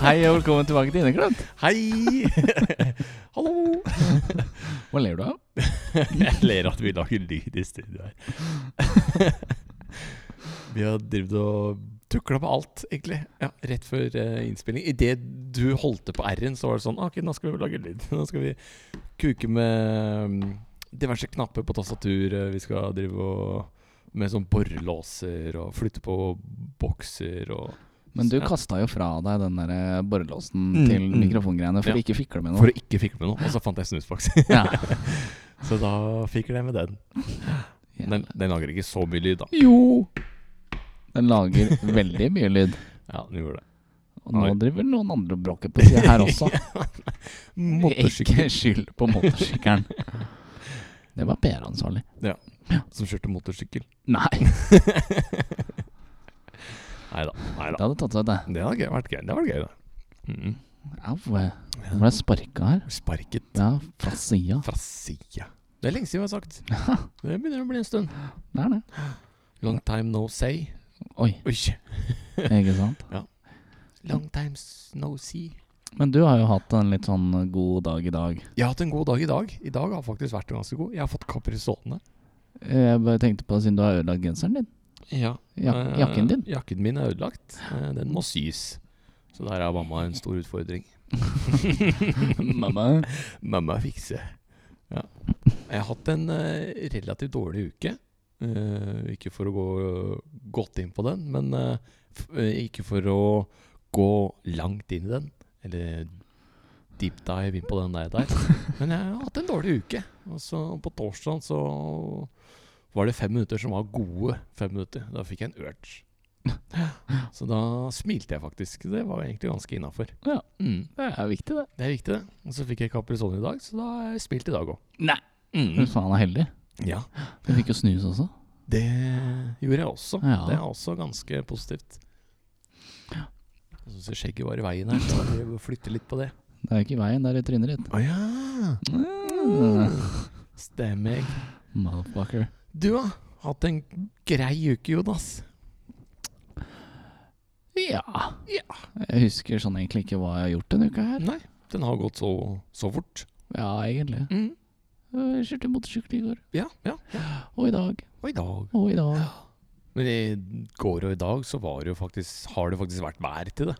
Hei og velkommen tilbake til Inneklemt. Hei! Hallo! Hva ler du av? Jeg ler at vi lager lyd i studio her. vi har drevet og tukla med alt, egentlig. Ja, Rett før eh, innspilling. Idet du holdte på R-en, så var det sånn «Ah, Ok, nå skal vi lage lyd. Nå skal vi kuke med mm, diverse knapper på tastaturet. Vi skal drive og med sånn borrelåser og flytte på bokser og Men du kasta jo fra deg den der eh, borrelåsen Mm, til mm. mikrofongreiene for Ja. å ikke fikle med For noe. å ikke fikle med noe. Og så fant jeg snusboks. Ja. så da fikk jeg med den. Ja. Den, den lager ikke så mye lyd, da. Jo! Den lager veldig mye lyd. Ja, den gjorde det. Og nå Oi. driver noen andre og bråker på sida her også. Motorsykkel Ikke skyld på motorsykkelen. Det var PR-ansvarlig. som kjørte motorsykkel. Nei, Nei da. Nei det da. hadde tatt seg ut, det. Det hadde gøy, vært gøy. Det var gøy, det. Mm. Au. Nå ble jeg sparka her. Sparket Ja, fra sida. fra sida. Det er lenge siden vi har sagt. Det begynner å bli en stund. Det er det. Long time no say. Oi, Oi. ikke sant. Long time s- no see. Men du har jo hatt en litt sånn god dag i dag. Jeg har hatt en god dag i dag. I dag har faktisk vært ganske god. Jeg har fått kaprisåtene. Eh, Jeg bare tenkte på, siden du har ødelagt genseren din Ja. jak Eh, Jakken din. Jakken min er ødelagt. Eh, Den må sys. Så der er mamma en stor utfordring. Mamma. Mamma fikse. Ja. Jeg har hatt en eh, relativt dårlig uke. Eh, ikke for å gå godt inn på den, men eh, f eh, ikke for å gå langt inn i den. Eller deep dive inn på den der. der. Men jeg har hatt en dårlig uke. Og så på torsdag så var det fem minutter som var gode fem minutter. Da fikk jeg en urge. Så da smilte jeg faktisk. Det var egentlig ganske innafor. Ja. Mm. Det er viktig, det. Det er viktig, det. Og så fikk jeg Caprisone i dag, så da har jeg spilt i dag òg. Nei. Mm. Men faen, han er heldig. Ja. Du fikk jo snus også. Det gjorde jeg også. Ja. Det er også ganske positivt. Jeg syns skjegget var i veien her, så jeg må flytte litt på det. Det er jo ikke i veien, det er i trynet ditt. Å ja. Mm. Stemmer. Motherfucker. Du har hatt en grei uke, Jonas. Ja. Jeg husker sånn egentlig ikke hva jeg har gjort denne uka her. Nei, den har gått så, så fort. Ja, egentlig. Mm. Jeg kjørte motorsykkel i går. Ja, ja. Og i dag. Og i dag. Og i dag. Men i går og i dag så var det jo faktisk, har det faktisk vært vær til det.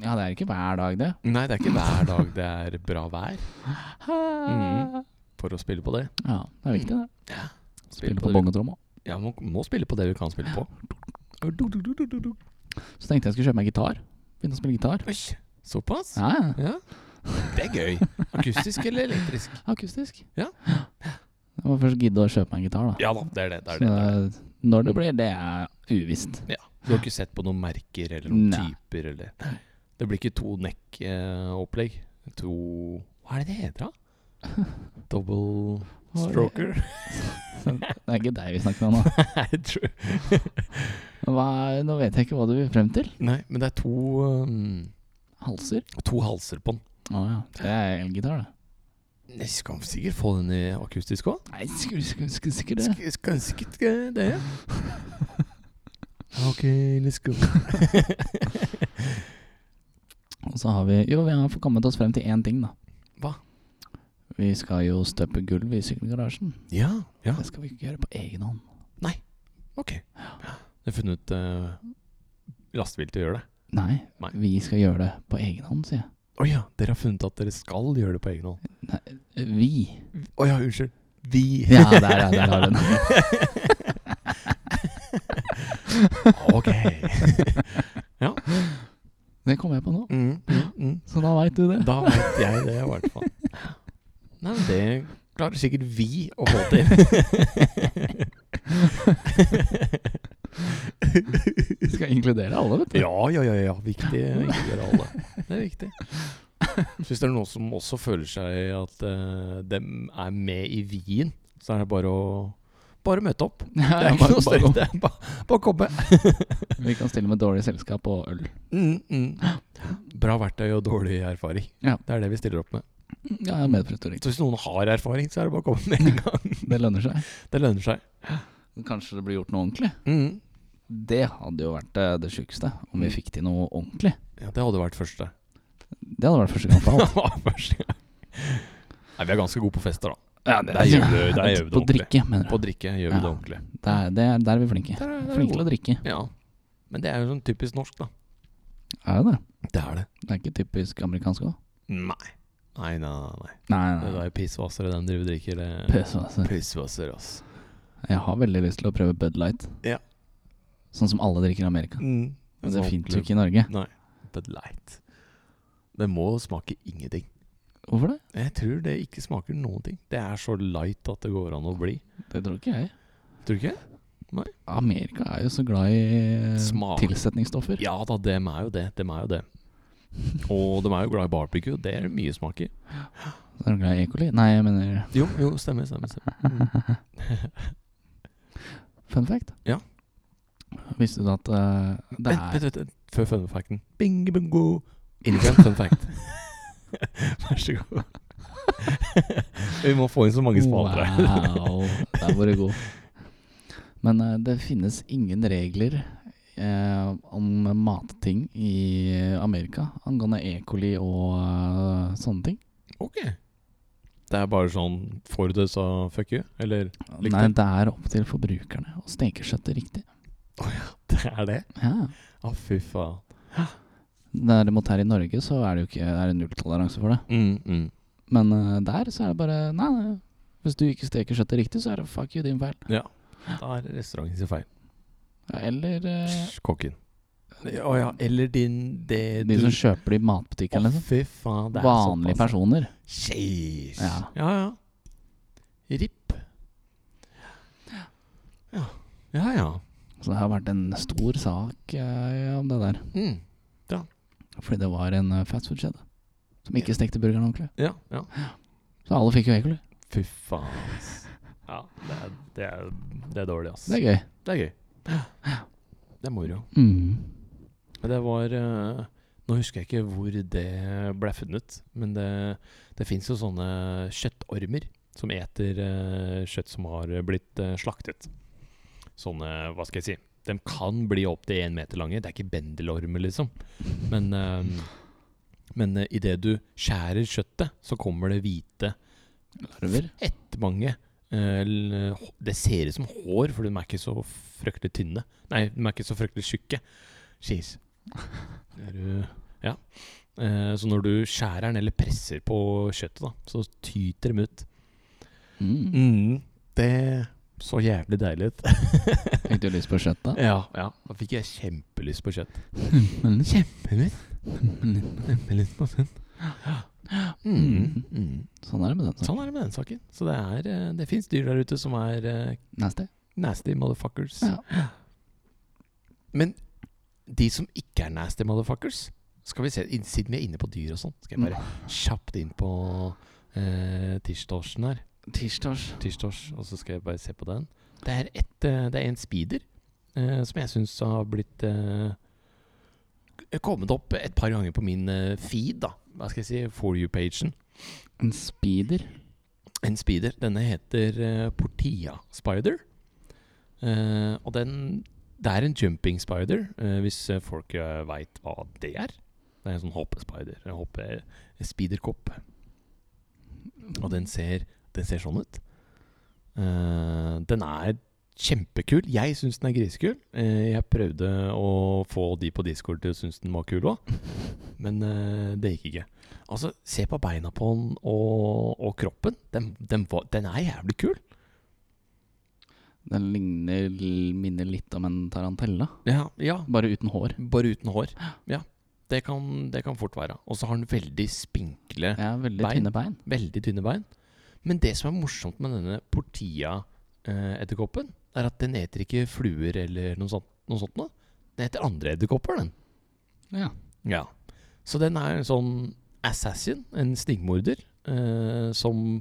Ja, det er ikke hver dag, det. Nei, det er ikke hver dag det er bra vær Ha. for å spille på det. Ja, det er viktig, det. Spille Spille på på det. bongotromma. Ja, må, må spille på det du kan spille på. Så tenkte jeg skulle kjøpe meg gitar. Begynne å spille gitar. Oi, såpass? Ja, ja. Ja. Det er gøy. Akustisk eller elektrisk? Akustisk. Ja. Jeg må først gidde å kjøpe meg en gitar, da. Ja da, det er det. det, er det, det, er det. Så eh, når det blir, det er uvisst. Du har ikke sett på noen merker eller noen Nei. typer eller Det blir ikke to neck-opplegg. to Hva er det det heter, da? Double Hva er det? stroker? Det er ikke deg vi snakker om nå. Nei, jeg tror- Hva, er- nå vet jeg ikke hva du vil frem til. Nei, men det er to um, Halser? To halser på den. Å ja. Det er elgitar, det. Jeg skal sikkert få den i akustisk òg. Nei, skulle skulle- skulle sikkert det. Sk- Skal sikkert eh, det, ja. OK, let's go. Og så har vi Jo, vi har fått kommet oss frem til én ting, da. Hva? Vi skal jo støpe gulv i sykkelgarasjen. Ja, ja. Det skal vi ikke gjøre på egen hånd. Ok. Jeg har funnet ut eh, lastebil til å gjøre det. Nei, Nei. vi skal gjøre det på egen hånd, sier jeg. Å ja, dere har funnet at dere skal gjøre det på egen hånd. Vi. Å ja, unnskyld. Vi. Ja, der, ja, der har du den. ok. Det kom jeg på nå. Mm, mm, mm. Så da veit du det. Da vet jeg det, i hvert fall. Nei, men det klarer sikkert vi å få til. Vi skal inkludere alle, vet du. Ja, ja, ja, ja. Viktig å inkludere alle. Det er viktig. Så hvis det er noen som også føler seg at eh, dem er med i vien, så er det bare å bare møte opp. Det er ikke noe større. Det er bare, bare å komme. Vi kan stille med dårlig selskap og øl. Mm, mm. Bra verktøy og dårlig erfaring. Ja. Det er det vi stiller opp med. Ja, jeg er med på retorikk. Så hvis noen har erfaring, så er det bare å komme med en gang. Det lønner seg. Det lønner seg. Kanskje det blir gjort noe ordentlig. Mm. Det hadde jo vært eh, det sjukeste, om vi Mm. fikk til noe ordentlig. Ja, det hadde vært første. Det hadde vært første gang for alt. Det var første gang. Nei, vi er ganske gode på fester, da. Ja, der gjør vi- der gjør vi det På ordentlig. drikke, mener du. På drikke gjør vi Ja. det ordentlig. Der, det er, der er vi flinke. Der er, der er Flinke til å drikke. Ja. Men det er jo sånn typisk norsk, da. Er det det? Det er det. Det er ikke typisk amerikansk òg? Nei. Nei, nei, nei. nei. Nei, Det nei. er jo pissvassere den driver og drikker. eh. det- Pøs, altså. Pissvasser, ass. Jeg har veldig lyst til å prøve Bud Light. Ja. Sånn som alle drikker i Amerika. Mm. Men det Sånn fins jo ordentlig ikke i Norge. Bud Light. Det må smake ingenting. Hvorfor det? Jeg tror det ikke smaker noen ting. Det er så light at det går an å bli. Det tror ikke jeg. Tror du ikke? Amerika er jo så glad i eh, Smak. tilsetningsstoffer. Ja da, dem er jo det. Dem er jo det. Og de er jo glad i barbecue. Det er det mye smak i. Så er de glad i E. coli. Nei, jeg mener Jo, jo, stemmer. stemmer, stemmer. fun fact. Ja. Visste du at eh, det Vent, er vent, vent, vent. Før fun facten. Bingo, bingo. Inneklemt fun fact. Vær så god. Vi må få inn så mange spalter her. Wow, der var du god. Men eh, det finnes ingen regler eh, om matting i Amerika angående E. coli og eh, sånne ting. Ok. Det er bare sånn for det, så fuck you? Eller Lykke Nei, til. det er opp til forbrukerne å steke kjøttet riktig. det er det? Ja. Å, fy faen. Derimot her i Norge så er det jo ikke er det nulltoleranse for det. Mm, mm. Men eh, der så er det bare Nei, nei. Hvis du ikke steker kjøttet riktig, så er det fuck you, din feil. Ja. Da er det restauranten sin feil. Ja, Eller eh, Hysj, Kokken. Å ja, eller din det de du- som kjøper det i matbutikken, Å, liksom. fy faen. Det er Vanlige såpass. personer. Jeez. Ja. ja, ja. Ripp. Ja. Ja, ja. Så det har vært en stor sak eh, om det der. Mm. Fordi det var en eh, fastfood-kjede som ikke stekte burgeren ordentlig. Ja, ja. Så alle fikk jo ekoli. Fy faen, ass. Ja, det er, det er, det er dårlig, ass. Det er gøy. Det er gøy. Det er moro. Mm. Men det var eh, Nå husker jeg ikke hvor det ble funnet, men det, det fins jo sånne kjøttormer som eter eh, kjøtt som har blitt eh, slaktet. Sånne, hva skal jeg si De kan bli opptil én meter lange. Det er ikke bendelormer, liksom. Men, uh, men eh, i idet du skjærer kjøttet, så kommer det hvite Larver. mange eh, l- h- Det ser ut som hår, for de er ikke så fryktelig tynne. Nei, de er ikke så fryktelig tjukke. Jeez. Er du Ja. Eh, Så når du skjærer den eller presser på kjøttet, da, så tyter de ut. Mm. Mm, det så jævlig deilig ut. Fikk du lyst på kjøtt da? ja, ja. Da fikk jeg kjempelyst på kjøtt. Men kjøtt. Kjempelyst kjempelyst på kjøtt. Mm, mm. Sånn er det med den saken. Sånn er det med den saken. Så det, er, eh, det fins dyr der ute som er eh, Nasty. Nasty motherfuckers. Ja. Men de som ikke er nasty motherfuckers Skal vi se, inn- Siden vi er inne på dyr og sånn, skal jeg bare kjapt inn på eh, tirsdagsen her. Tirsdags. Tirsdags, og så skal jeg bare se på den. Det er, et, eh, det er en speeder eh, som jeg syns har blitt eh, k- Kommet opp et par ganger på min eh, feed, da. Hva skal jeg si? For you-pagen. En speeder. En speeder. Denne heter eh, Portia Spider. Eh, og den Det er en jumping spider, eh, hvis eh, folk uh, veit hva det er. Det er en sånn hoppespider. En hoppe, en spiderkopp. Og den ser, den ser sånn ut. Eh, den er kjempekul. Jeg syns den er grisekul. Eh, jeg prøvde å få de på Discord til å synes den var kul òg, men eh, det gikk ikke. Altså, se på beina på den og, og kroppen. Den, den, var, den er jævlig kul. Den ligner, minner litt om en tarantella. Ja, ja. Bare uten hår. Bare uten hår. Ja. Det kan, det kan fort være. Og så har den veldig spinkle, Ja, veldig Bein. tynne bein. veldig tynne bein. Men det som er morsomt med denne portia-edderkoppen, er at den eter ikke fluer eller noe sånt. Noe sånt noe. Den eter andre edderkopper, den. Ja. Ja. Så den er en sånn assassin, en snikmorder, eh, som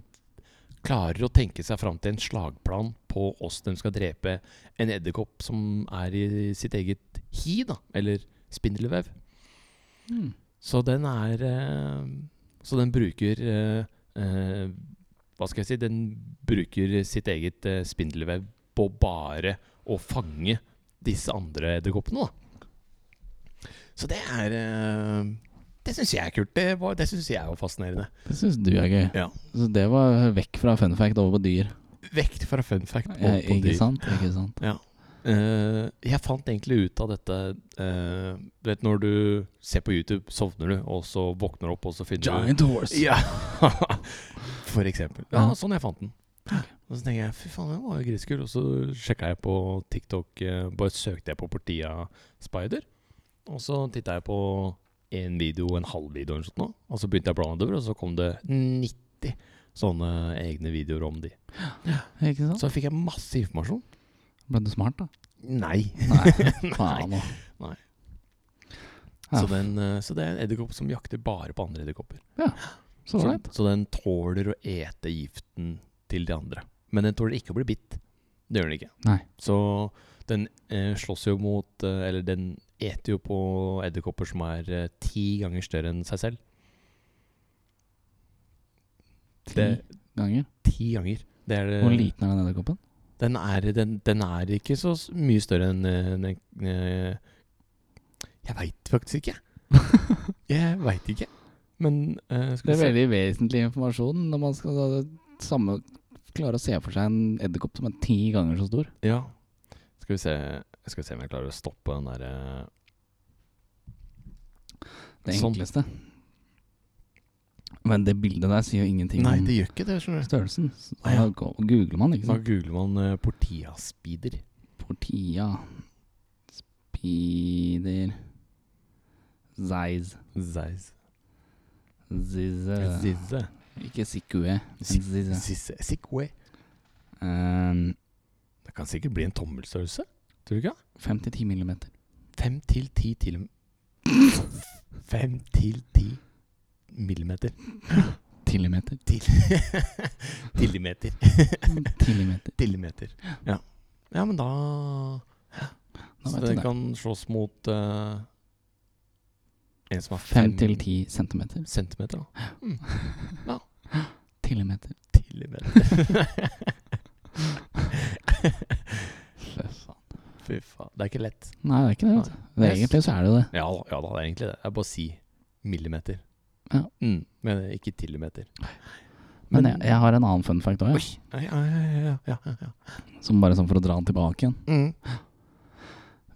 klarer å tenke seg fram til en slagplan på oss de skal drepe en edderkopp som er i sitt eget hi, da, eller spindelvev. Mm. Så den er eh, Så den bruker eh, eh, Hva skal jeg si? Den bruker sitt eget eh, spindelvev på bare å fange disse andre edderkoppene. da Så det er eh, Det syns jeg er kult. Det, var- det syns jeg var fascinerende. Det syns du er gøy. Ja. Så det var vekk fra fun fact over på dyr. Vekt fra fun fact. Ja, over på ikke dyr. sant? Ikke sant? Eh, jeg fant egentlig ut av dette eh, Du vet når du ser på YouTube, sovner du, og så våkner du opp, og så finner du Giant horse. Ja, for eksempel. Ja, Ja. sånn jeg fant den. Og så tenker jeg, fy faen, den var jo grisekul. Og så sjekka jeg på TikTok, eh, bare søkte jeg på Portia Spider. Og så titta jeg på en video, en halv video eller noe sånt nå. Og så begynte jeg å bla meg over, og så kom det 90 sånne egne videoer om de. Ikke sant? Så fikk jeg masse informasjon. Ble du smart, da? Nei. Nei, faen òg. Nei. Ja, Så, den, eh, så det er en edderkopp som jakter bare på andre edderkopper. så Så, ålreit. så den tåler å ete giften til de andre. Men den tåler ikke å bli bitt. Det gjør den ikke. Nei. Så den eh, slåss jo mot eh, Eller den eter jo på edderkopper som er eh, ti ganger større enn seg selv. Ti Det, ganger. ti ganger. Det er det Hvor liten er den edderkoppen? Den er, den, den er ikke så s- mye større enn eh, en, en, eh, Jeg veit faktisk ikke. jeg veit ikke. Men eh, Det skal er vi se veldig vesentlig informasjon når man skal da, samme, klare å se for seg en edderkopp som er ti ganger så stor. Ja. Skal vi se Skal vi se om jeg klarer å stoppe den eh, derre Det Sånn. enkleste. Men det bildet der sier jo ingenting Nei, om det gjør ikke det. skjønner du. størrelsen. Så Nei, ja. da go- googler man, ikke sånn? Da sant. googler man eh, Portia Speeder. Portia Spider Zeiz Zeiss. Zizze Zizze. Ikke Sikue. men Sik- Zizze. Zizze. Sikwe. Um, Det kan sikkert bli en tommelstørrelse. Tror du ikke? 5-10 millimeter. Fem til ti til Fem til ti millimeter. Tillimeter. Til Tillimeter. Mm, Tillimeter. Tillimeter. Ja. ja, men da Da Så vet du den det. kan slåss mot eh, en som er fem 5-10 centimeter. centimeter. Da. Tillimeter. Tillimeter. Fy faen. Fy faen. Det er ikke lett. Nei, det er ikke det. Vet du. det er Yes. egentlig så er det jo det. Ja da, ja da, det er egentlig det. Jeg bare si millimeter. Ja. Mm, men ikke tillimeter. Men jeg, Men- jeg har en annen fun fact òg, Ja, ja, ja. ja, ja, ja, ja. som bare sånn for å dra den tilbake igjen. Mm.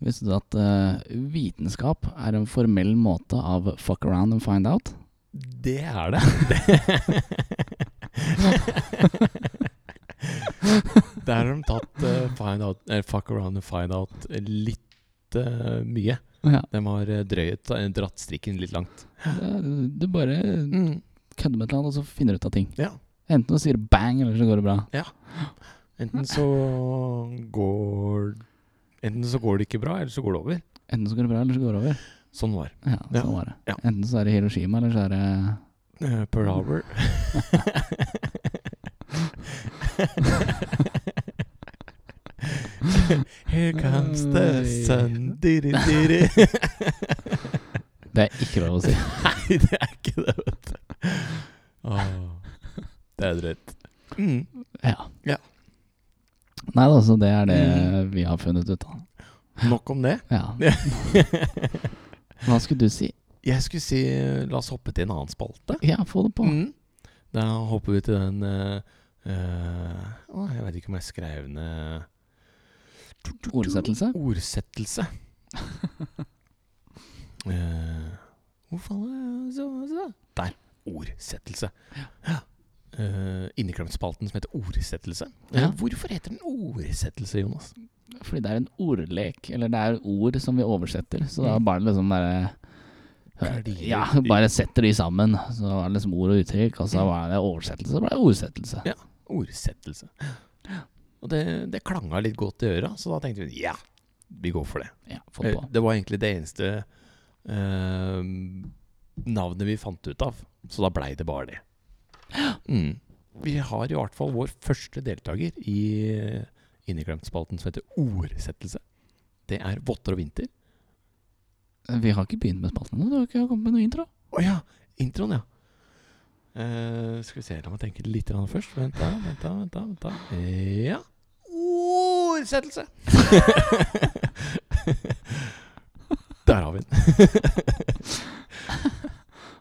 Visste du at eh, vitenskap er en formell måte av fuck around and find out? Det er det. Der har de tatt eh, find out, eh, fuck around and find out eh, litt eh, mye. Ja, De har eh, drøyet, eh, dratt strikken litt langt. det- Du bare Mm. kødder med et eller annet, og så finner du ut av ting. Ja. Enten du sier bang, eller så går det bra. Enten så går Enten så går det ikke bra, eller så går det over. Enten så går det bra, eller så går det over. Sånn var Ja, Ja. sånn var det. Ja. Enten så er det Hiroshima, eller så er det uh, Pearl Harbor. Here comes the sun diri, diri. Det er ikke lov å si. Nei, det er ikke det, vet du. Åh, det er drøyt. Mm. Ja. Ja. Mm. Nei da, så det er det vi har funnet ut av. Nok om det. Ja. Hva skulle du si? Jeg skulle si eh, la oss hoppe til en annen spalte. Ja, få det på. Mm. Da hopper vi til den eh, eh, åh, Jeg vet ikke om jeg skrev ned Ordsettelse. Ordsettelse. Eh, hvor faen er det så, så? Der. Ordsettelse. Ja. Eh, Inneklemtspalten som heter Ordsettelse. Eh, Ja. Hvorfor heter den ordsettelse, Jonas? Fordi det er en ordlek, eller det er ord som vi oversetter. Så da er det bare liksom bare Verdier. Ja, bare setter de sammen. Så var det liksom ord og uttrykk, og så var det oversettelse, så ble det ordsettelse. Ja. Ordsettelse. Og det, det klanga litt godt i øra, så da tenkte vi ja, vi går for det. Ja, få det Eh, på. Det var egentlig det eneste eh, navnet vi fant ut av, så da blei det bare det. Mm. Vi har i hvert fall vår første deltaker i eh, Inneklemt-spalten som heter Ordsettelse. Det er Votter og vinter. Vi har ikke begynt med spalten ennå, du har ikke kommet med noe intro? Å ja! Introen, ja. Eh, Eh, skal vi se, la meg tenke litt grann først. Vent da, vent da, vent da. Vent da. Ja. verdsettelse! Der har vi den.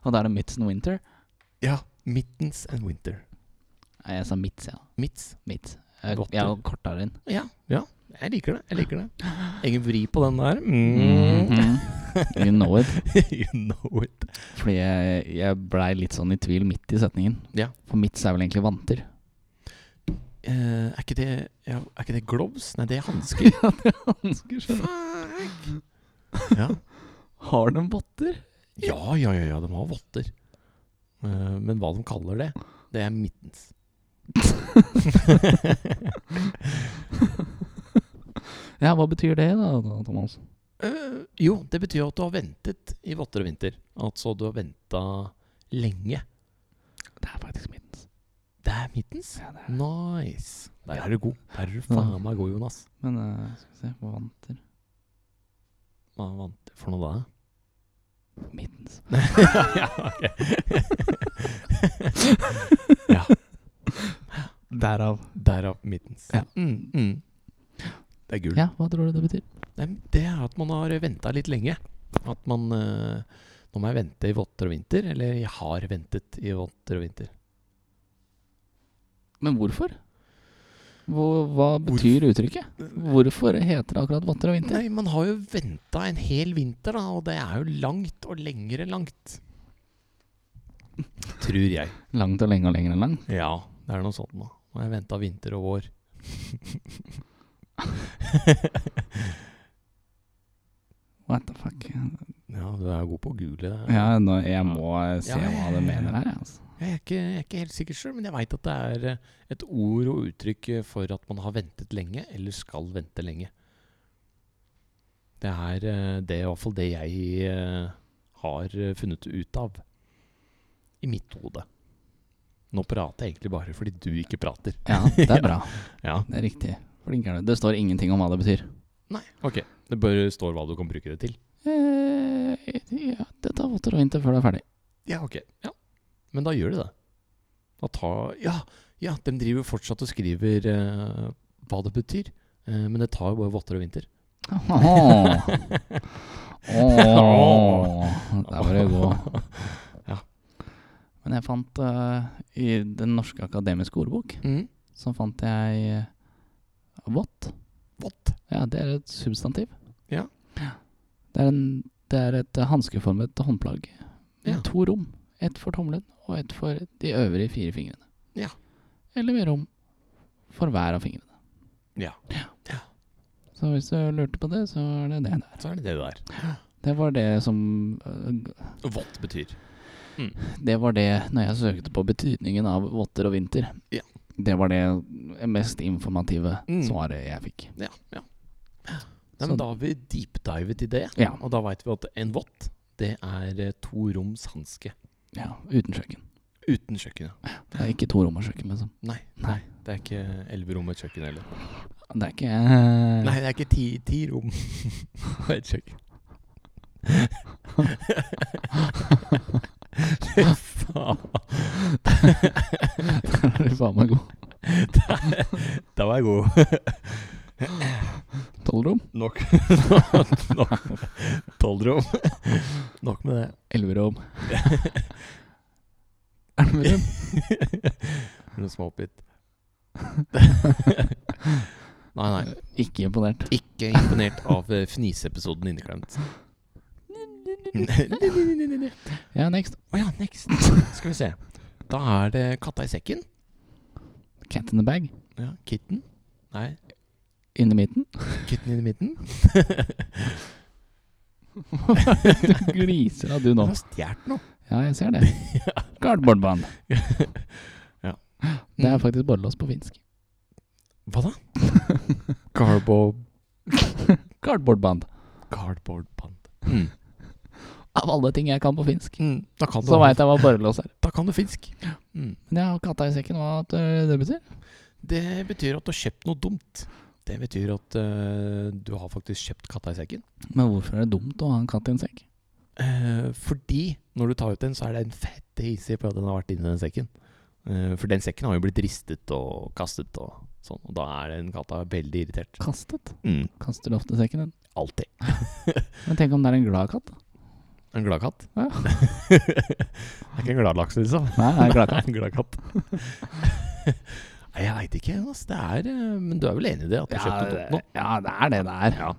Og da er det Mitts and Winter. Ja. Mittens and winter. Nei, jeg sa Mitts, ja. Mitts. Mitts. Jeg, Godt, jeg ja. har korta den. Ja. ja. Jeg liker det. jeg liker det Egen vri på den der. Mm. Mhm. You know it. you know it. Fordi jeg, jeg blei litt sånn i tvil midt i setningen. Ja. For Mitts er vel egentlig vanter. Eh, er, ikke det, ja, er ikke det gloves? Nei, det er hansker. Fuck! Ja. Har de votter? Ja, ja, ja, ja, de har votter. Eh, men hva de kaller det, det er mittens. Ja, hva betyr det da, da, Thomas? Eh, jo, det betyr at du har ventet i votter og vinter. Altså du har venta lenge. Det er faktisk Mitts. Det er mittens. Ja, det er. Nice. Der er du god. Der er du faen meg god, Jonas. Men eh, skal vi se på vanter Hva vant du for noe da? Mittens. ja, ok. ja, Derav. derav mittens. Ja. Mm, mm. Det er gull. Ja, hva tror du det betyr? Nei, men det er at man har venta litt lenge. At man eh, Nå må jeg vente i votter og vinter. Eller jeg har ventet i votter og vinter. Men hvorfor? Hvor, hva betyr uttrykket? Hvorfor heter det akkurat votter og vinter? Nei, man har jo venta en hel vinter, da. Og det er jo langt og lengre langt. Tror jeg. Langt og lenge og lenger enn lang. Ja, det er noe sånt nå. Nå har jeg venta vinter og vår. What the fuck? Ja, du er god på å google. det. Ja, nå, jeg må se Ja, ja, hva ja, du ja. mener her. Altså. Jeg er ikke, jeg er ikke helt sikker sjøl, men jeg veit at det er eh, et ord og uttrykk eh, for at man har ventet lenge, eller skal vente lenge. Det er eh, det er i hvert fall det jeg eh, har eh, funnet ut av. I mitt hode. Nå prater jeg egentlig bare fordi du ikke prater. Ja, det er bra. Ja. Det er riktig. Flink er du. Det står ingenting om hva det betyr. Nei, ok. Det bare står hva du kan bruke det til. Eh, ja, det tar votter og vinter før det er ferdig. Ja, ok. Ja. Men da gjør de det. Da tar, ja, ja, de driver fortsatt og skriver eh, hva det betyr. Eh, men det tar jo bare votter og vinter. Åh. Åh. Der var det god. Ja. Men jeg fant eh, i Den norske akademiske ordbok Mm. så fant jeg eh, vått. Vått. Ja, det er et substantiv. Ja. Det er, en, det er et eh, hanskeformet håndplagg med Ja. to rom. Ett for tommelen og ett for de øvrige fire fingrene. Ja. Eller med rom for hver av fingrene. Ja. Så hvis du lurte på det, så er det det der. Så er det det der. Det var det som eh, Vått betyr. Det var det når jeg søkte på betydningen av votter og vinter. Ja. Det var det mest informative Mm. svaret jeg fikk. Ja. ja. Nei, men Så- da har vi deepdivet i det, Ja. og da veit vi at en vått, det er eh, to roms hanske. ja uten kjøkken. Uten kjøkkenet. Det er ikke to rom og kjøkken, liksom. Nei. Nei. Det er ikke elleve rom og et kjøkken heller. Det er ikke eh, Nei, det er ikke ti, ti rom og et kjøkken. Fy faen. Det er faen meg god. Da var jeg god. Tolv rom. Nok. Nok. Tolv rom. Nok med det. Elleve rom. Elleve rom. Noe småpitt. nei, nei. Ikke imponert. Ikke imponert av eh, fniseepisoden inneklemt. Å Ja, next. ja, next. Skal vi se. Da er det katta i sekken. Cat in the bag. Ja, Kitten. Nei, In the midten. kitten i midten. du gliser av du nå. Hun har stjålet noe. Ja, jeg ser det. Cardboardbanen. Ja. Det Mm. er faktisk borrelås på finsk. Hva da? Garbo Cardboardband. Cardboard band. Mm. Av alle ting jeg kan på finsk, Mm. Da, kan du, så veit jeg hva borrelås er. da kan du finsk. Mm. Men jeg har katta i sekken, hva at, øh, det betyr? Det betyr at du har kjøpt noe dumt. Det betyr at eh, du har faktisk kjøpt katta i sekken. Men hvorfor er det dumt å ha en katt i en sekk? Eh, fordi når du tar ut den, så er det en fette hissig på at den har vært inni den sekken. Eh, for den sekken har jo blitt ristet og kastet og Sånn, og da er den katta veldig irritert. Kastet. Mm, Kaster du ofte sekken din? alltid. Men tenk om det er en glad katt? da? En glad katt. Ja. det er ikke en glad laks, liksom. Nei, det er en glad katt. Nei, en glad katt. Nei, jeg veit ikke. ass. Det er, eh, men du er vel enig i det? At du Ja, kjøpte det- Totno? ja, det er det det er. Ja.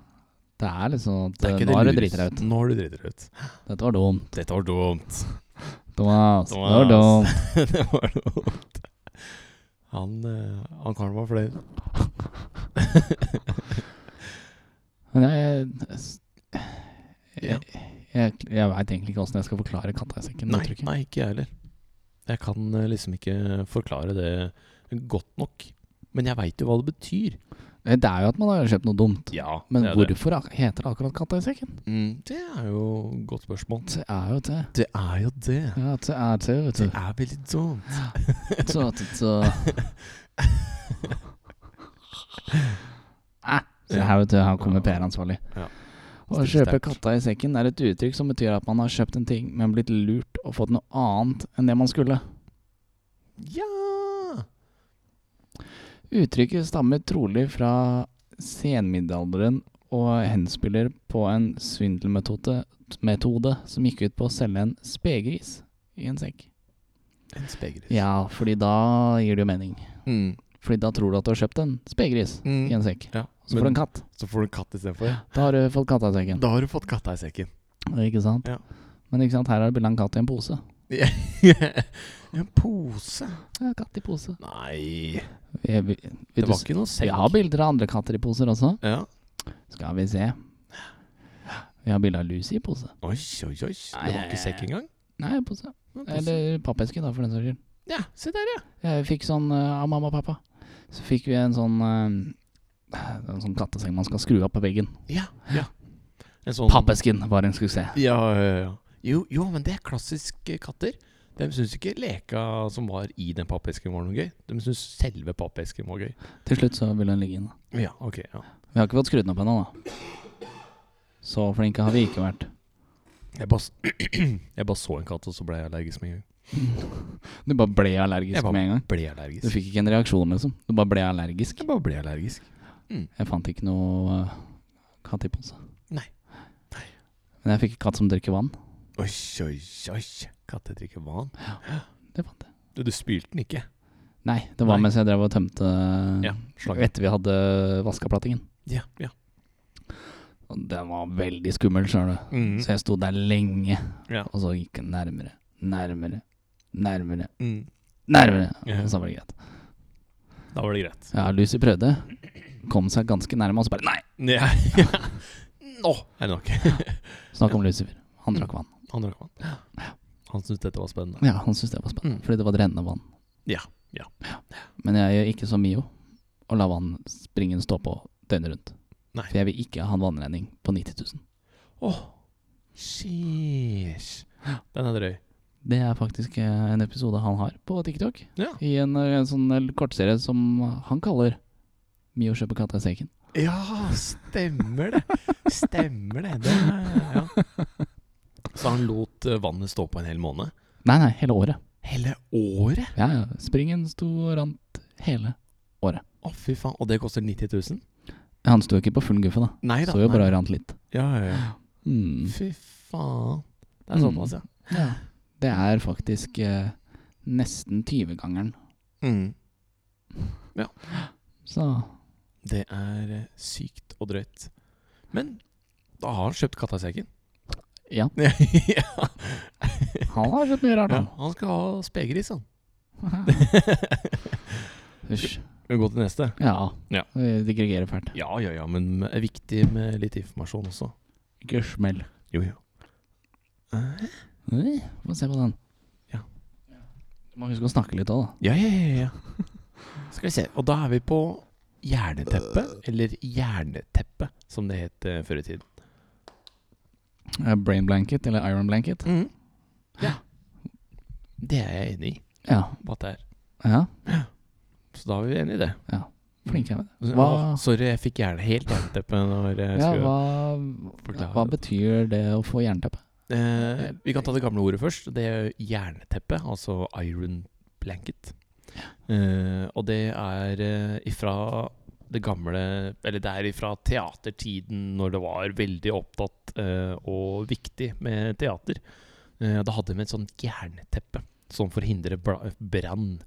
Det er litt sånn at Det er eh, ikke nå har du lureste. driti deg ut. Nå har du driti deg ut. Dette var dumt. Dette var dumt. Thomas, det var Thomas. dumt. det var dumt. Han, eh, han kan være flau. Men jeg Ja. Jeg, jeg, jeg veit egentlig ikke åssen jeg skal forklare katta i sekken. det Nei, tror jeg ikke. nei, ikke jeg heller. Jeg kan eh, liksom ikke forklare det godt nok. Men jeg veit jo hva det betyr. Det er jo at man har kjøpt noe dumt. Ja, Men det er det. hvorfor ak- heter det akkurat katta i sekken? Mm, det er jo et godt spørsmål. Det er jo det. Det er jo det. Ja, det er det, vet Det du. er veldig dumt. Så, så, sånn så. Ah, Se her, vet du. Her kommer PR-ansvarlig. Ja. Å Stilig kjøpe sterkt. katta i sekken er et uttrykk som betyr at man har kjøpt en ting, men blitt lurt og fått noe annet enn det man skulle. Ja Uttrykket stammer trolig fra senmiddelalderen og henspiller på en svindelmetode metode som gikk ut på å selge en spegris i en sekk. En spegris. Ja, fordi da gir det jo mening. Mm. Fordi da tror du at du har kjøpt en spegris Mm. i en sekk. Ja, Så får du men en katt. så får du en katt istedenfor. Da har du fått katta i sekken. Da har du fått katta i sekken. Ikke sant? Ja. Men ikke sant, her er det bilde av en katt i en pose. en pose. Ja, katt i pose. Nei Jeg, vil, Det vil du, var ikke noe vi sekk. har bilder av andre katter i poser også. Ja. Skal vi se. Vi har bilde av Lucy i pose. Oi, oi, oi. Det var ikke sekk engang. Nei, pose. Men pose. Eller pappeske, da, for den saks skyld. Ja, se der, ja. Jeg fikk sånn eh, av mamma og pappa. Så fikk vi en sånn eh, En sånn katteseng man skal skru opp på veggen. Ja, ja. En sånn Pappesken var en skulle se. Ja, ja, ja. Jo, jo, men det er klassiske katter. De syns ikke leka som var i den pappesken var noe gøy. De syns selve pappesken var gøy. Til slutt så ville den ligge inne. Ja, ok, ja. Vi har ikke fått skrudd den opp ennå, da. Så flinke har vi ikke vært. Jeg bare, s- jeg bare så en katt, og så ble jeg allergisk med en gang. Du bare ble Jeg allergisk bare med en gang. Ble Du allergisk. fikk ikke en reaksjon, liksom. Du bare ble allergisk. Jeg bare ble allergisk. Jeg fant ikke noe eh, katt i pose. Nei. Men jeg fikk en katt som drikker vann. Oi, oi, oi. Katter drikker vann. Det fant jeg. Du, du spylte den ikke. Nei, det var Nei. mens jeg drev og tømte Ja, slaget. Etter vi hadde vaska plattingen. Ja, ja. Og Den var veldig skummel, skjønner du. Mm. Så jeg sto der lenge, Ja. og så gikk den nærmere, nærmere, nærmere, Mm. nærmere. Ja. Og så var det greit. Da var det greit. Ja, Lucy prøvde. Kom seg ganske nærme, og så bare Nei! Ja. Nå er det nok. Snakk om Lucifer. Han drakk vann. Han drakk vann. Han syntes dette var spennende. Ja, han syntes det var spennende, Mm. fordi det var drennende vann. Ja, ja. Men jeg gjør ikke som Mio, og la vannspringen stå på døgnet rundt. Nei. For jeg vil ikke ha en vannrenning på 90 000. Åh, sheesh. Den er drøy. Det er faktisk eh, en episode han har på TikTok. Ja. I en, eh, en sånn eh, kortserie som han kaller Mio kjøper katta i sekken. Ja, stemmer det. Stemmer det. det er, ja. Så han lot eh, vannet stå på en hel måned? Nei, nei, hele året. Hele året? Ja, ja. Springen sto og rant hele. Å, fy faen. Og det koster 90 000? Han sto ikke på full guffe, da. Nei da. Så jo nei. bare og rant litt. Ja, ja, ja. Mm. Fy faen. Det er Mm. såpass, ja. Ja. Det er faktisk eh, nesten 20-gangeren. Mm. Så Det er eh, sykt og drøyt. Men da har han kjøpt katta i sekken. ja, ja. han har sett mye rart, ja. han. Han skal ha spegris, han. Hysj. Vi går til neste. Ja. Ja. Vi digregerer fælt. Ja, ja, ja, men det er viktig med litt informasjon også. Ikke smell. Jo, jo. Eh, Oi, Få se på den. Ja. Du må huske å snakke litt òg, da. Ja, ja, ja, ja. Skal vi se. Og da er vi på Hjerneteppet, eller Hjerneteppet, som det het eh, før i tiden. Eh, Brain blanket eller iron blanket? Ja. Det er jeg enig i. Ja. Hva det er. ja. Så da er vi enige i det. Flink jeg med det. Så- Hva- Å, Sorry, jeg fikk gjerne helt jernteppe når Altså, jeg Ja, skulle hva, forklare hva det. betyr det å få jernteppe? eh, Vi kan ta det gamle ordet først. Det er jernteppet, altså iron blanket. Eh, og det er eh, ifra det gamle Eller det er ifra teatertiden, når det var veldig opptatt eh, og viktig med teater. Eh, da hadde de et sånt jernteppe som forhindrer bla- brann.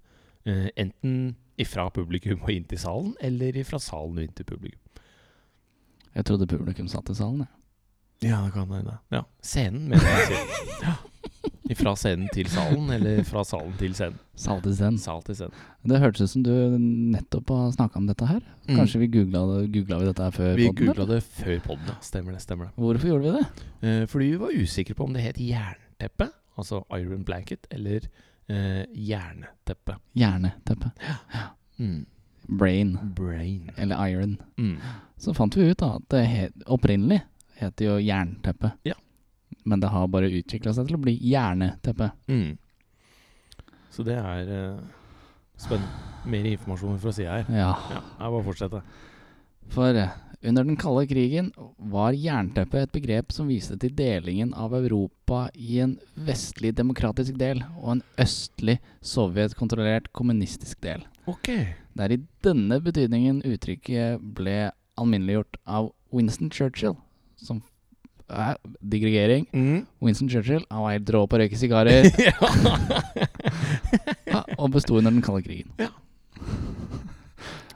Eh, enten ifra publikum og inn til salen, eller ifra salen og inn til publikum. Jeg trodde publikum satt i salen, jeg. Ja, det kan hende. Ja. Scenen, mener jeg. Sier. Ja. Fra scenen til salen, eller fra salen til scenen. Sal til scenen. Sal til scenen. Det hørtes ut som du nettopp har snakka om dette her. Mm. Kanskje vi googla, det- googla vi dette her før? Mm. Vi podden, eller? googla det før podden, ja. Stemmer det. stemmer det Hvorfor gjorde vi det? eh, Fordi vi var usikre på om det het jernteppe, altså iron blanket, eller eh, jernteppe. Hjerneteppe. Mm. Brain. Brain. Eller iron. Mm. Så fant vi ut da at det het, opprinnelig het det jo jernteppe. Ja. Men det har bare utvikla seg til å bli hjerneteppe. Mm. Så det er eh, spennende. Mer informasjon fra sida her. Ja. Ja, jeg bare fortsette. For eh, under den kalde krigen var jernteppe et begrep som viste til delingen av Europa i en vestlig demokratisk del og en østlig sovjetkontrollert kommunistisk del. Ok. Det er i denne betydningen uttrykket ble alminneliggjort av Winston Churchill, som eh, Digregering. Mm. Winston Churchill han var helt rå på å røyke sigarer ja, og besto under den kalde krigen.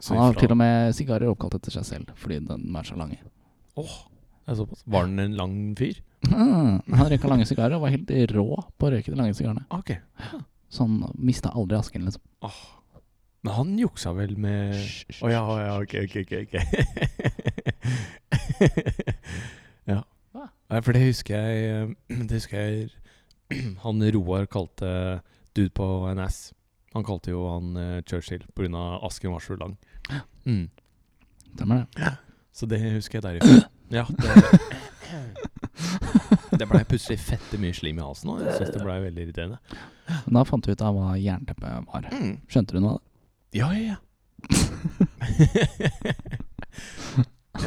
Så Han har ifra- til og med sigarer oppkalt etter seg selv fordi den var så lange. Det er såpass. Var den en lang fyr? Mm, han røyka lange sigarer og var helt rå på å røyke de lange sigarene. Ok. Så han mista aldri asken, liksom. Men han juksa vel med Hysj, hysj, Eh, Å ja, å ja, ok, ok, ok. ok. ja. Hva? Nei, for det husker jeg eh, Det husker jeg han Roar kalte dude på NS. Han kalte jo han eh, Churchill pga. asken var så lang. Mm. Stemmer det. Så det husker jeg derifra. Ja, det, det blei plutselig fette mye slim i halsen òg. Jeg syns det blei veldig irriterende. Men da fant vi ut av hva jernteppe var. Mm. Skjønte du noe av det? Ja, ja, ja.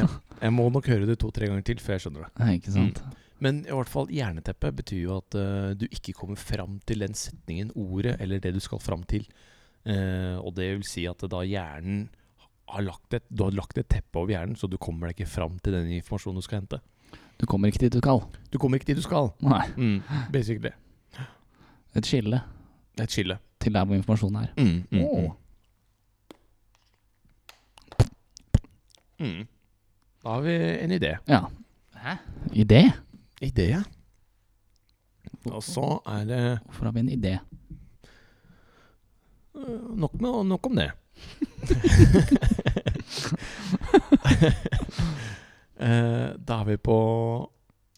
ja. Jeg må nok høre det to-tre ganger til før jeg skjønner det. Nei, Ikke sant? Mm. Men i hvert fall hjerneteppe betyr jo at eh, du ikke kommer fram til den setningen, ordet, eller det du skal fram til. Eh, og det vil si at da hjernen har lagt et, Du har lagt et teppe over hjernen, så du kommer deg ikke fram til den informasjonen du skal hente. Du kommer ikke dit du skal. Du kommer ikke dit du skal. Nei. Mm, basically. Et skille Det er et skille. til der hvor informasjonen er. Mm, mm, Åh. mm. Mm. Da har vi en idé. Ja. Hæ? Idé? Idé, ja. Og så er det Hvorfor har vi en idé? Eh, Nok, med, nok om det. Eh, da er vi på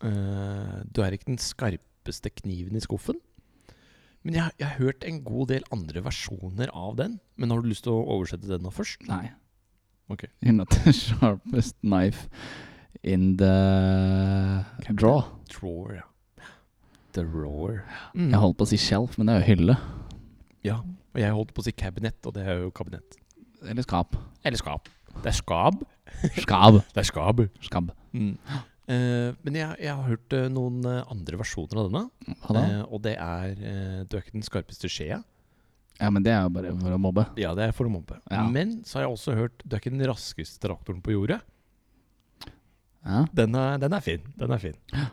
eh, Du er ikke den skarpeste kniven i skuffen. Men jeg, jeg har hørt en god del andre versjoner av den. Men har du lyst til å oversette den nå først? Nei. Ok. You're not the sharpest knife in the draw. Drawer, ja. The rower. Mm. Jeg holdt på å si shelf, men det er jo hylle. Ja, og jeg holdt på å si kabinett, og det er jo kabinett. Eller skap. Eller skap. Det er skab. Skab. Det er skab. Skab. Mm. Eh, men jeg, jeg har hørt eh, noen eh, andre versjoner av denne. Hva da? Eh, og det er eh, Du er ikke den skarpeste skjea. Ja, men det er jo bare for å mobbe. Ja, det er for å mobbe. Ja. Men så har jeg også hørt Du er ikke den raskeste traktoren på jordet. Ja. Den er, den er fin. Den er fin. Eh,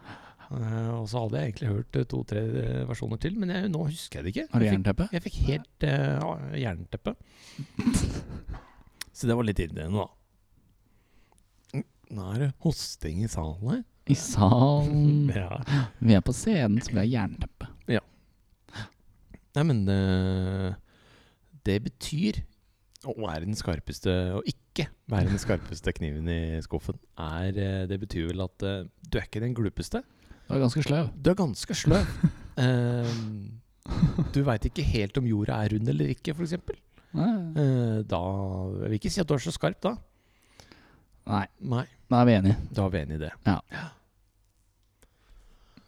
og så hadde jeg egentlig hørt eh, to-tre eh, versjoner til, men jeg, nå husker jeg det ikke. Har du Jeg fikk- jernteppe? Jeg fikk helt eh, ja, jernteppe. Så det var litt irriterende, da. Mm, Nå er det hosting i salen her. I salen. Ja. Vi er på scenen, så vi har jernteppe. Nei, men eh, det betyr å være den skarpeste og ikke være den skarpeste kniven i skuffen. Er, eh, det betyr vel at eh, du er ikke den glupeste. Du er ganske sløv. Du er ganske sløv. Eh, du veit ikke helt om jorda er rund eller ikke, f.eks. Nei, Uh, da Jeg vil ikke si at du er så skarp, da. Nei, Nei, da er vi enige. da er vi enig i det.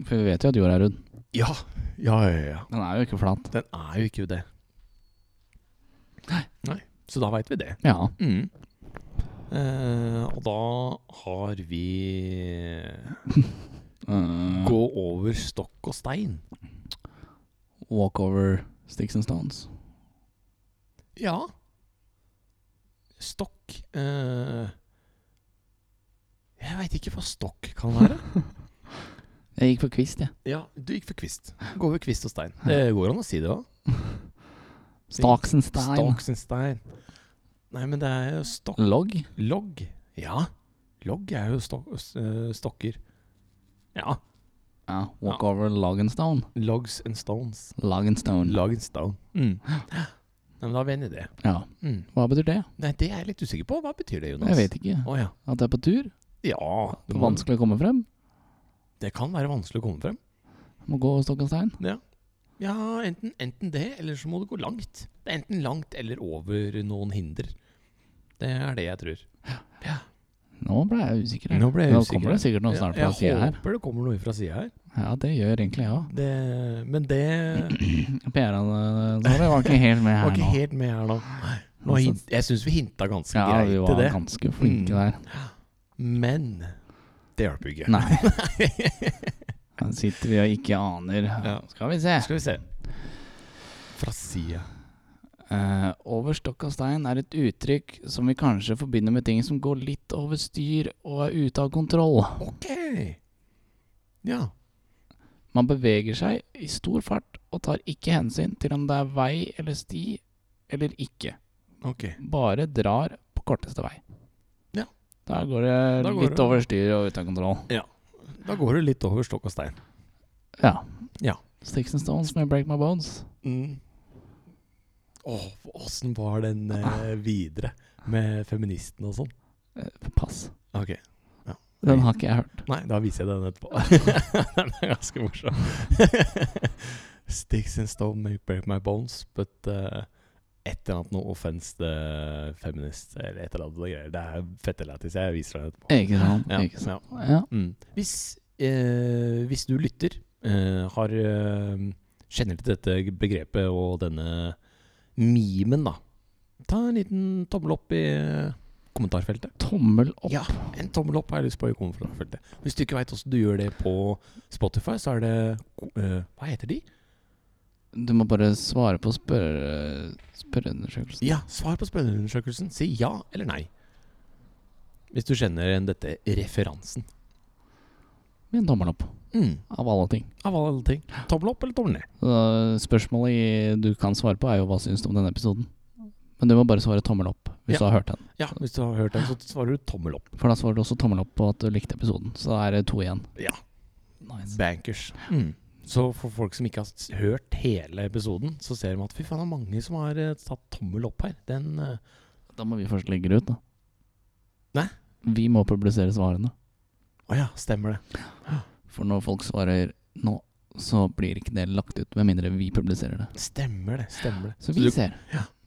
For vi vet jo at jorda er rund. Ja, ja, ja, ja. Den er jo ikke flat. Den er jo ikke det. Nei. Nei. Så da veit vi det. Ja. Mm. Eh, og da har vi Uh, Gå over stokk og stein. walk over sticks and stones. Ja. Stokk eh, Jeg veit ikke hva stokk kan være. Jeg gikk for kvist, jeg. ja, du gikk for kvist. Gå over kvist og stein. Det går an å si det òg. Staksenstein. Stokk sin stein. Nei, men det er jo stokk Logg. Logg. Ja. Logg er jo stok s- eh, stokker. Ja. Ja, walk over log and stone. Logs and stones. Log and stone. Log and stone. Mm. Nei, men da er vi enige i det. Ja. Mm. Hva betyr det? Nei, det er jeg litt usikker på. Hva betyr det, Jonas? Jeg vet ikke. Å ja. At det er på tur? Ja, Det det, er må, vanskelig å komme frem? det kan være vanskelig å komme frem. Må gå stokk og stein? Ja, enten, enten det, eller så må du gå langt. Det er enten langt eller over noen hinder. Det er det jeg tror. Nå ble jeg usikker. her. Nå ble jeg Nå usikker kommer det sikkert noe Jeg, snart fra jeg sida her. håper det kommer noe fra sida her. Ja, det gjør egentlig jeg òg. Det, men det PR-ene våre var ikke helt med her nå. var ikke Altså- helt med her nå. nå hint, jeg syns vi hinta ganske Ja, vi greit var til det, ganske flinke Mm. der. men det hjalp jo ikke. Nei. Her sitter vi og ikke aner. Ja. Skal vi se. Skal vi se. Fra sida. Eh, over stokk og stein er et uttrykk som vi kanskje forbinder med ting som går litt over styr og er ute av kontroll. Ok. Ja. Man beveger seg i stor fart og tar ikke hensyn til om det er vei eller sti eller ikke. Ok. Bare drar på korteste vei. Ja. Da går det Da går litt det- over styr og ute av kontroll. Da går det litt over stokk og stein. Ja. Ja. Sticks and stones may break my bones. Mm. Åh, åssen var den eh, videre med feministen og sånn? Eh, Pass. Ok, Den har ikke jeg hørt. Nei, da viser jeg den etterpå. den er ganske morsom. Sticks and stone may break my bones, but eh, et eller annet noe offense uh, feminist eller et eller annet noe greier. Det er fettelættis. Jeg viser den etterpå. Ikke sant. Ja, Ikke sant. ja. Ja. Mm. Hvis, eh, hvis du lytter, eh, har, eh, kjenner til dette begrepet og denne memen, da. Ta en liten tommel opp i eh, kommentarfeltet. Tommel opp. Ja, en tommel opp har jeg lyst på i kommentarfeltet. Hvis du ikke veit åssen du gjør det på Spotify, så er det ko- eh, Hva heter de? Du må bare svare på spørre, spørreundersøkelsen. Ja, svar på spørreundersøkelsen. Si ja eller nei. Hvis du kjenner igjen dette referansen. Med en tommel opp, Mm. av alle ting. Av alle ting. Tommel opp eller tommel ned? Så spørsmålet i- du kan svare på, er jo hva syns du om denne episoden? Men du må bare svare tommel opp hvis Ja. du har hørt den. Ja, hvis du har hørt den, så svarer du tommel opp. For da svarer du også tommel opp på at du likte episoden. Så da er det to igjen. Ja. Nice. Bankers. Mm. Så for folk som ikke har s- hørt hele episoden, så ser de at fy faen, det er mange som har eh, tatt tommel opp her. Den eh, Da må vi først legge det ut, da. Nei. Vi må publisere svarene. Å ja, stemmer det. For når folk svarer nå, så blir ikke det lagt ut, med mindre vi publiserer det. Stemmer det. Stemmer det. Så vi du, ser.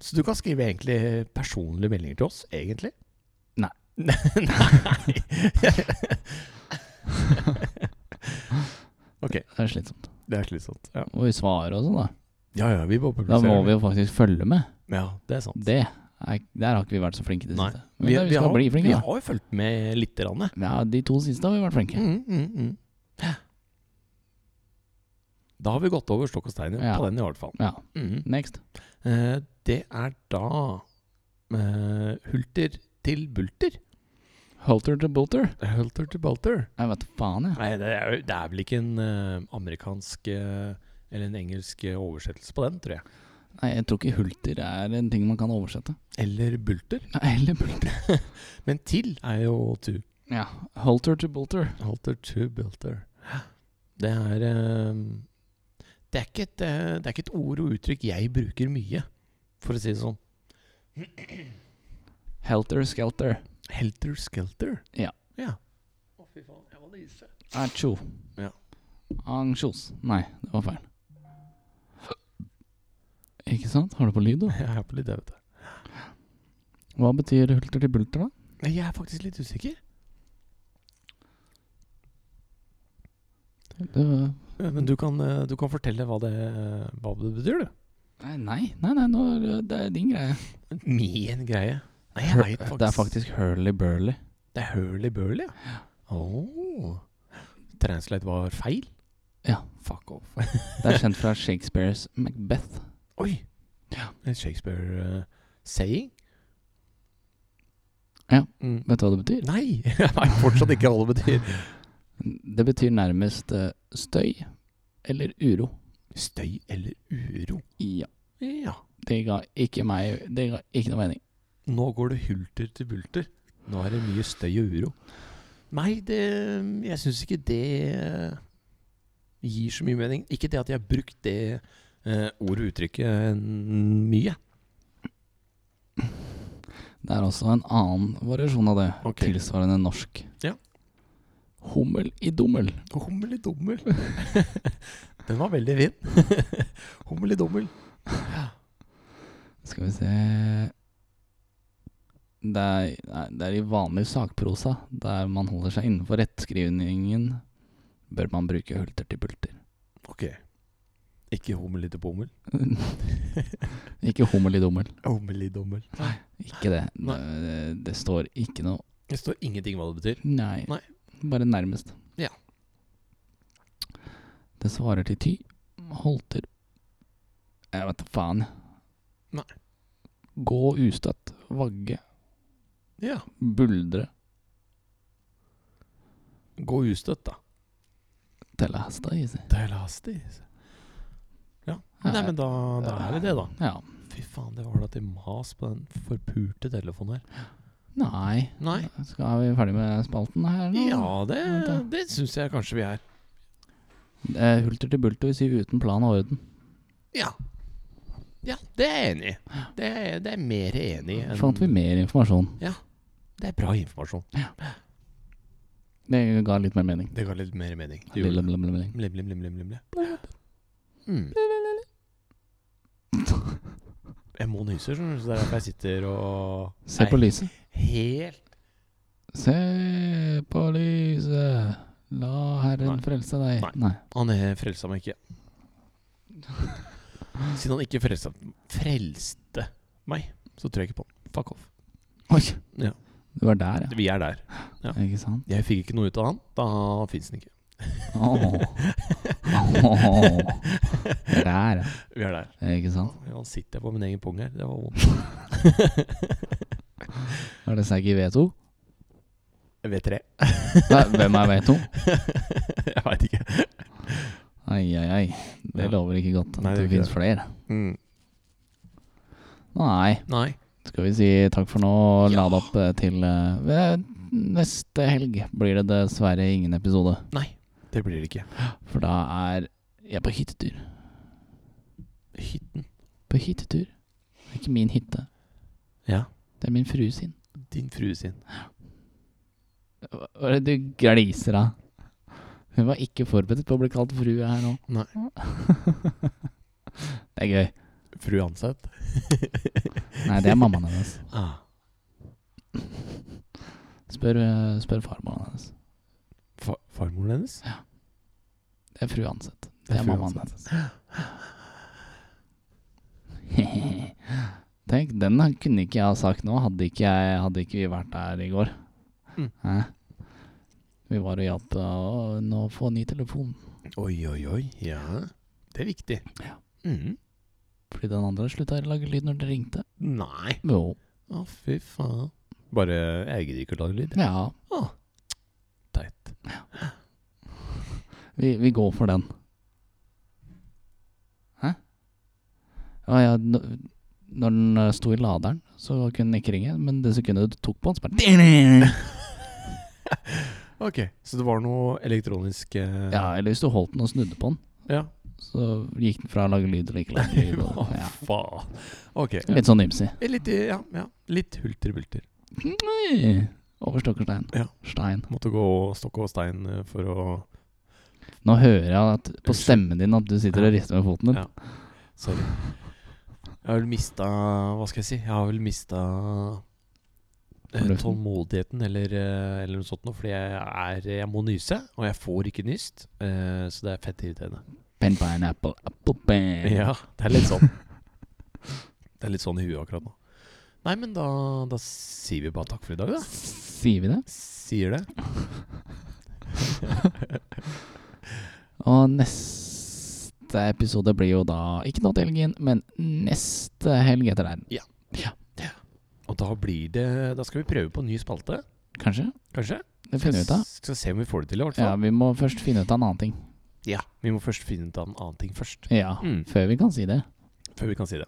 så du kan skrive egentlig personlige meldinger til oss, egentlig? Nei. Nei. Det er slitsomt. det er slitsomt. Ja. Og vi svarer og sånn, da. ja ja, vi bare Da publiserer. må vi jo det. faktisk følge med. Ja, det er sant. Det er, Der har ikke vi vært så flinke i det Nei. siste. Men vi, vi skal har, bli vi flinke, da. har jo fulgt med lite grann. eh. Ja, De to siste har vi vært flinke. Mm, mm, mm. Da har vi gått over stokk og stein Ja. på den, i hvert fall. Ja. Mm. Next. Eh, det er da eh, hulter til bulter. Holter to bolter. Hulter til bulter. Jeg vet faen, jeg. Nei, det er, jo- det er vel ikke en eh, amerikansk eh, eller en engelsk eh, oversettelse på den, tror jeg. Nei, jeg tror ikke hulter er en ting man kan oversette. Eller bulter. Nei, Eller bulter. Men til er jo to. Ja. Holter to bolter. Halter to bulter. Det er eh, det er, ikke et, eh, det er ikke et ord og uttrykk jeg bruker mye, for å si det sånn. Helter skelter. Helter skelter. Ja. ja. Å, fy faen. Jeg var lyse. Acho. Ja. Ansjos. Nei, det var feil. Ikke sant? Har du på lyd, da? Jeg er på litt, jeg, vet du. Hva betyr hulter til bulter, da? Nei, Jeg er faktisk litt usikker. Det, Eh, Men du kan, eh, du kan fortelle hva det, eh, hva det betyr, du. nei, nei, nei, nei nå, det er din greie. Min greie. Nei, jeg Hur- vet faktisk. Det er faktisk hurly-burly. Det er hurly-burly, ja. Oh. Translate var feil? Ja. Fuck off. Det er kjent fra Shakespeares Macbeth. Oi! En Shakespeare eh, saying? Ja. Mm. Vet du hva det betyr? Nei, jeg veit fortsatt ikke hva det betyr. Det betyr nærmest eh, støy eller uro. Støy eller uro? Ja. Ja. Det ga ikke meg Det ga ikke noe mening. Nå går det hulter til bulter. Nå er det mye støy og uro. Nei, det, jeg syns ikke det eh, gir så mye mening. Ikke det at jeg har brukt det eh, ordet og uttrykket en- mye. Det er også en annen variasjon av det, Ok. tilsvarende norsk. Ja. Hummel i dummel. Hummel i dummel. Den var veldig fin. Hummel i dummel. Skal vi se det er, nei, det er i vanlig sakprosa, der man holder seg innenfor rettskrivningen, bør man bruke hulter til bulter. Ok. Ikke hummel i bommel. ikke hummel i dummel. Hummel i dummel. Nei. Ikke det. Nei. Det, det står ikke noe Det står ingenting hva det betyr. Nei. Nei. Bare nærmest. Ja. Det svarer til ty. Holter Jeg vet da faen. Nei. Gå ustøtt. Vagge. Ja. Buldre. Gå ustøtt, da. Telle hesta i seg. Det er lastig. Ja. Nei, men da, da er vi det, da. Ja. Fy faen, det var da til mas på den forpurte telefonen her. Nei. Nei. Skal vi ferdig med spalten her nå? Ja, det, Vent det syns jeg kanskje vi er. Eh, Hulter til bulter, vi sier uten plan og orden. Ja. Ja, det er jeg enig i. Det, er- det er mer enig i enn Fant vi mer informasjon. Det er bra informasjon. Det ga litt mer mening. Det ga litt mer mening. Det Lille, gjorde det. lille, lille, lille. Blim, blim, blim, blim, blim, blim. Mm. Jeg må nyse, skjønner du, så det er derfor jeg sitter og Se på Nei, lyset. Helt Se på lyset, la Herren Nei. frelse deg. Nei. Han eh, frelsa meg ikke. Siden han ikke frelsa Frelste meg, så tror jeg ikke på han. Fuck off. Oi! Ja. Du var der, ja. Vi er der. Ja. Ikke sant? Jeg fikk ikke noe ut av han. Da fins den ikke. Åh. Åh. Vi er Der, ja. Vi er der. Ikke sant? Ja, han sitter på min egen pung her. Det var vondt. Er det Saggy V2? Vet dere? Nei, hvem er V2? jeg veit ikke. Ai, ai, ai. Det Ja. lover ikke godt at Nei, det det gjør ikke finnes flere. Mm. Nei. Nei. Skal vi si takk for nå og Ja. lade opp eh, til eh, ved Neste helg blir det dessverre ingen episode, Nei. Det blir det ikke. for da er jeg på hyttetur. Hytten. På hyttetur. Det er ikke min hytte, Ja. det er min frue sin. Din frue sin. Hva hva er det du gliser av? Hun var ikke forberedt på å bli kalt frue her nå. Nei. Det er gøy. Fru Anseth. Nei, det er mammaen hennes. Ah. Spør, eh, spør farmoren hennes. Fa farmoren hennes? Det er fru Anseth. Det Det er er fru mammaen hennes. Tenk, den kunne ikke jeg ha sagt nå, hadde ikke, jeg, hadde ikke vi vært der i går. Mm. Hæ? Vi var og hjalp eh, å nå få ny telefon, Oi, oi, oi. Ja. Det er viktig. Ja. Mm. fordi den andre slutta å lage lyd når det ringte. Nei. Jo. Å, fy faen. Ah. Bare Jeg gidder ikke å lage lyd. Ja. Å, teit. Vi, vi går for den. Hæ? Ja, ja, n- når den eh, sto i laderen, så kunne den ikke ringe. Men det sekundet du tok på den, så bare Ok, så det var noe elektronisk eh, Ja, eller hvis du holdt den og snudde på den, ja. så gikk den fra å lage lyd til ikke lage lyd. Hva og- Ja. faen? Ok. Ja. Litt sånn ymsi. Litt, ja, ja. Litt hulter-bulter. Over stokk og stein. Ja. Stein. Måtte gå stokk og stein eh, for å Nå hører jeg at på stemmen din at du sitter og rister med foten din. Ja. Sorry. Jeg har vel mista Hva skal jeg si? Jeg har vel mista eh, Fornuften. tålmodigheten eller, eh, eller noe sånt noe, fordi jeg, er, jeg må nyse, og jeg får ikke nyst. eh, Så det er fett irriterende. Pen, pineapple, apple, pen. Ja, det er litt sånn. Det er litt sånn i huet akkurat nå. Nei, men da, da sier vi bare takk for i dag, da. Sier vi det? Sier det. Og neste episode blir jo da ikke nå til helgen, men neste helg etter den. Ja. Ja. Og da blir det Da skal vi prøve på en ny spalte, Kanskje? kanskje? Det finner vi ut av. Skal se om vi får det til, i hvert Ja, fall. vi må først finne ut av en annen ting. Ja. Vi må først finne ut av en annen ting først. Ja, Mm. før vi kan si det. Før vi kan si det.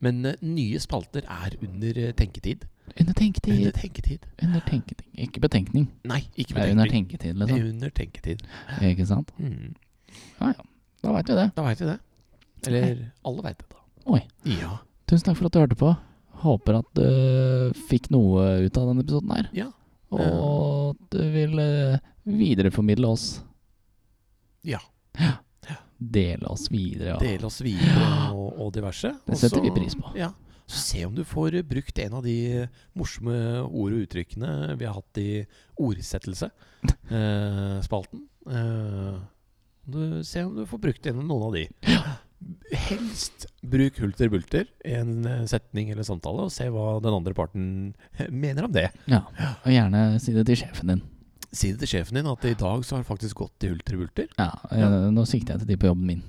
Men eh, nye spalter er under eh, tenketid. Under tenketid. Under tenketid. Under tenketid. Ikke betenkning. Nei, ikke Det er under betenkning. tenketid, liksom. Under tenketid. Ikke sant? Mm. Da veit vi det. Da veit vi det. Eller alle veit det, da. Oi. Ja. Tusen takk for at du hørte på. Håper at du fikk noe ut av denne episoden her. Ja. Og at du vil eh, videreformidle oss. Ja. Dele oss videre. Og Dele oss videre og, og diverse. det Og setter så- vi pris på. Ja. Så se om du får eh, brukt en av de eh, morsomme ord og uttrykkene vi har hatt i ordsettelse-spalten. se Eh, om du får brukt en av noen av de. Helst bruk hulter bulter i en eh, setning eller samtale, og se hva den andre parten eh, mener om det. Ja. Og gjerne si det til sjefen din. Si det til sjefen din at i dag så har det faktisk gått i hulter bulter. Ja, eh, Nå sikter jeg til de på jobben min.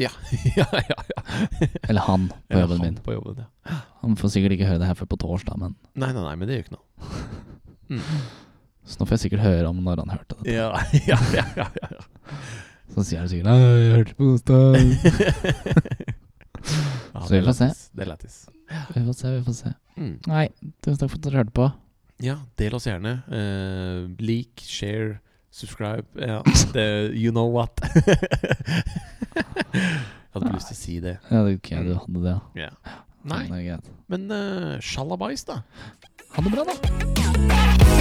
ja, ja, ja. Eller han på Eller jobben han min. På jobben, ja. Han får sikkert ikke høre det her før på torsdag, men Nei, nei, nei, men det gjør ikke noe. Mm. så nå får jeg sikkert høre om når han hørte det. Ja, ja, ja, ja, ja. Så sier han sikkert 'Nei, jeg hørte på onsdag'. Ja, Mm. Så det er vi får se. lættis, Det er lættis. Vi får se, vi får se. Mm. Nei, tusen takk for at dere hørte på. Ja, del oss gjerne. Eh, like, share, subscribe. Ja, det, you know what. jeg hadde ikke lyst til å si det. Ja, det er ok, du hadde det. ja. Ja. Nei, Det er greit. men uh, sjalabais, da. Ha det bra, da. Thank you.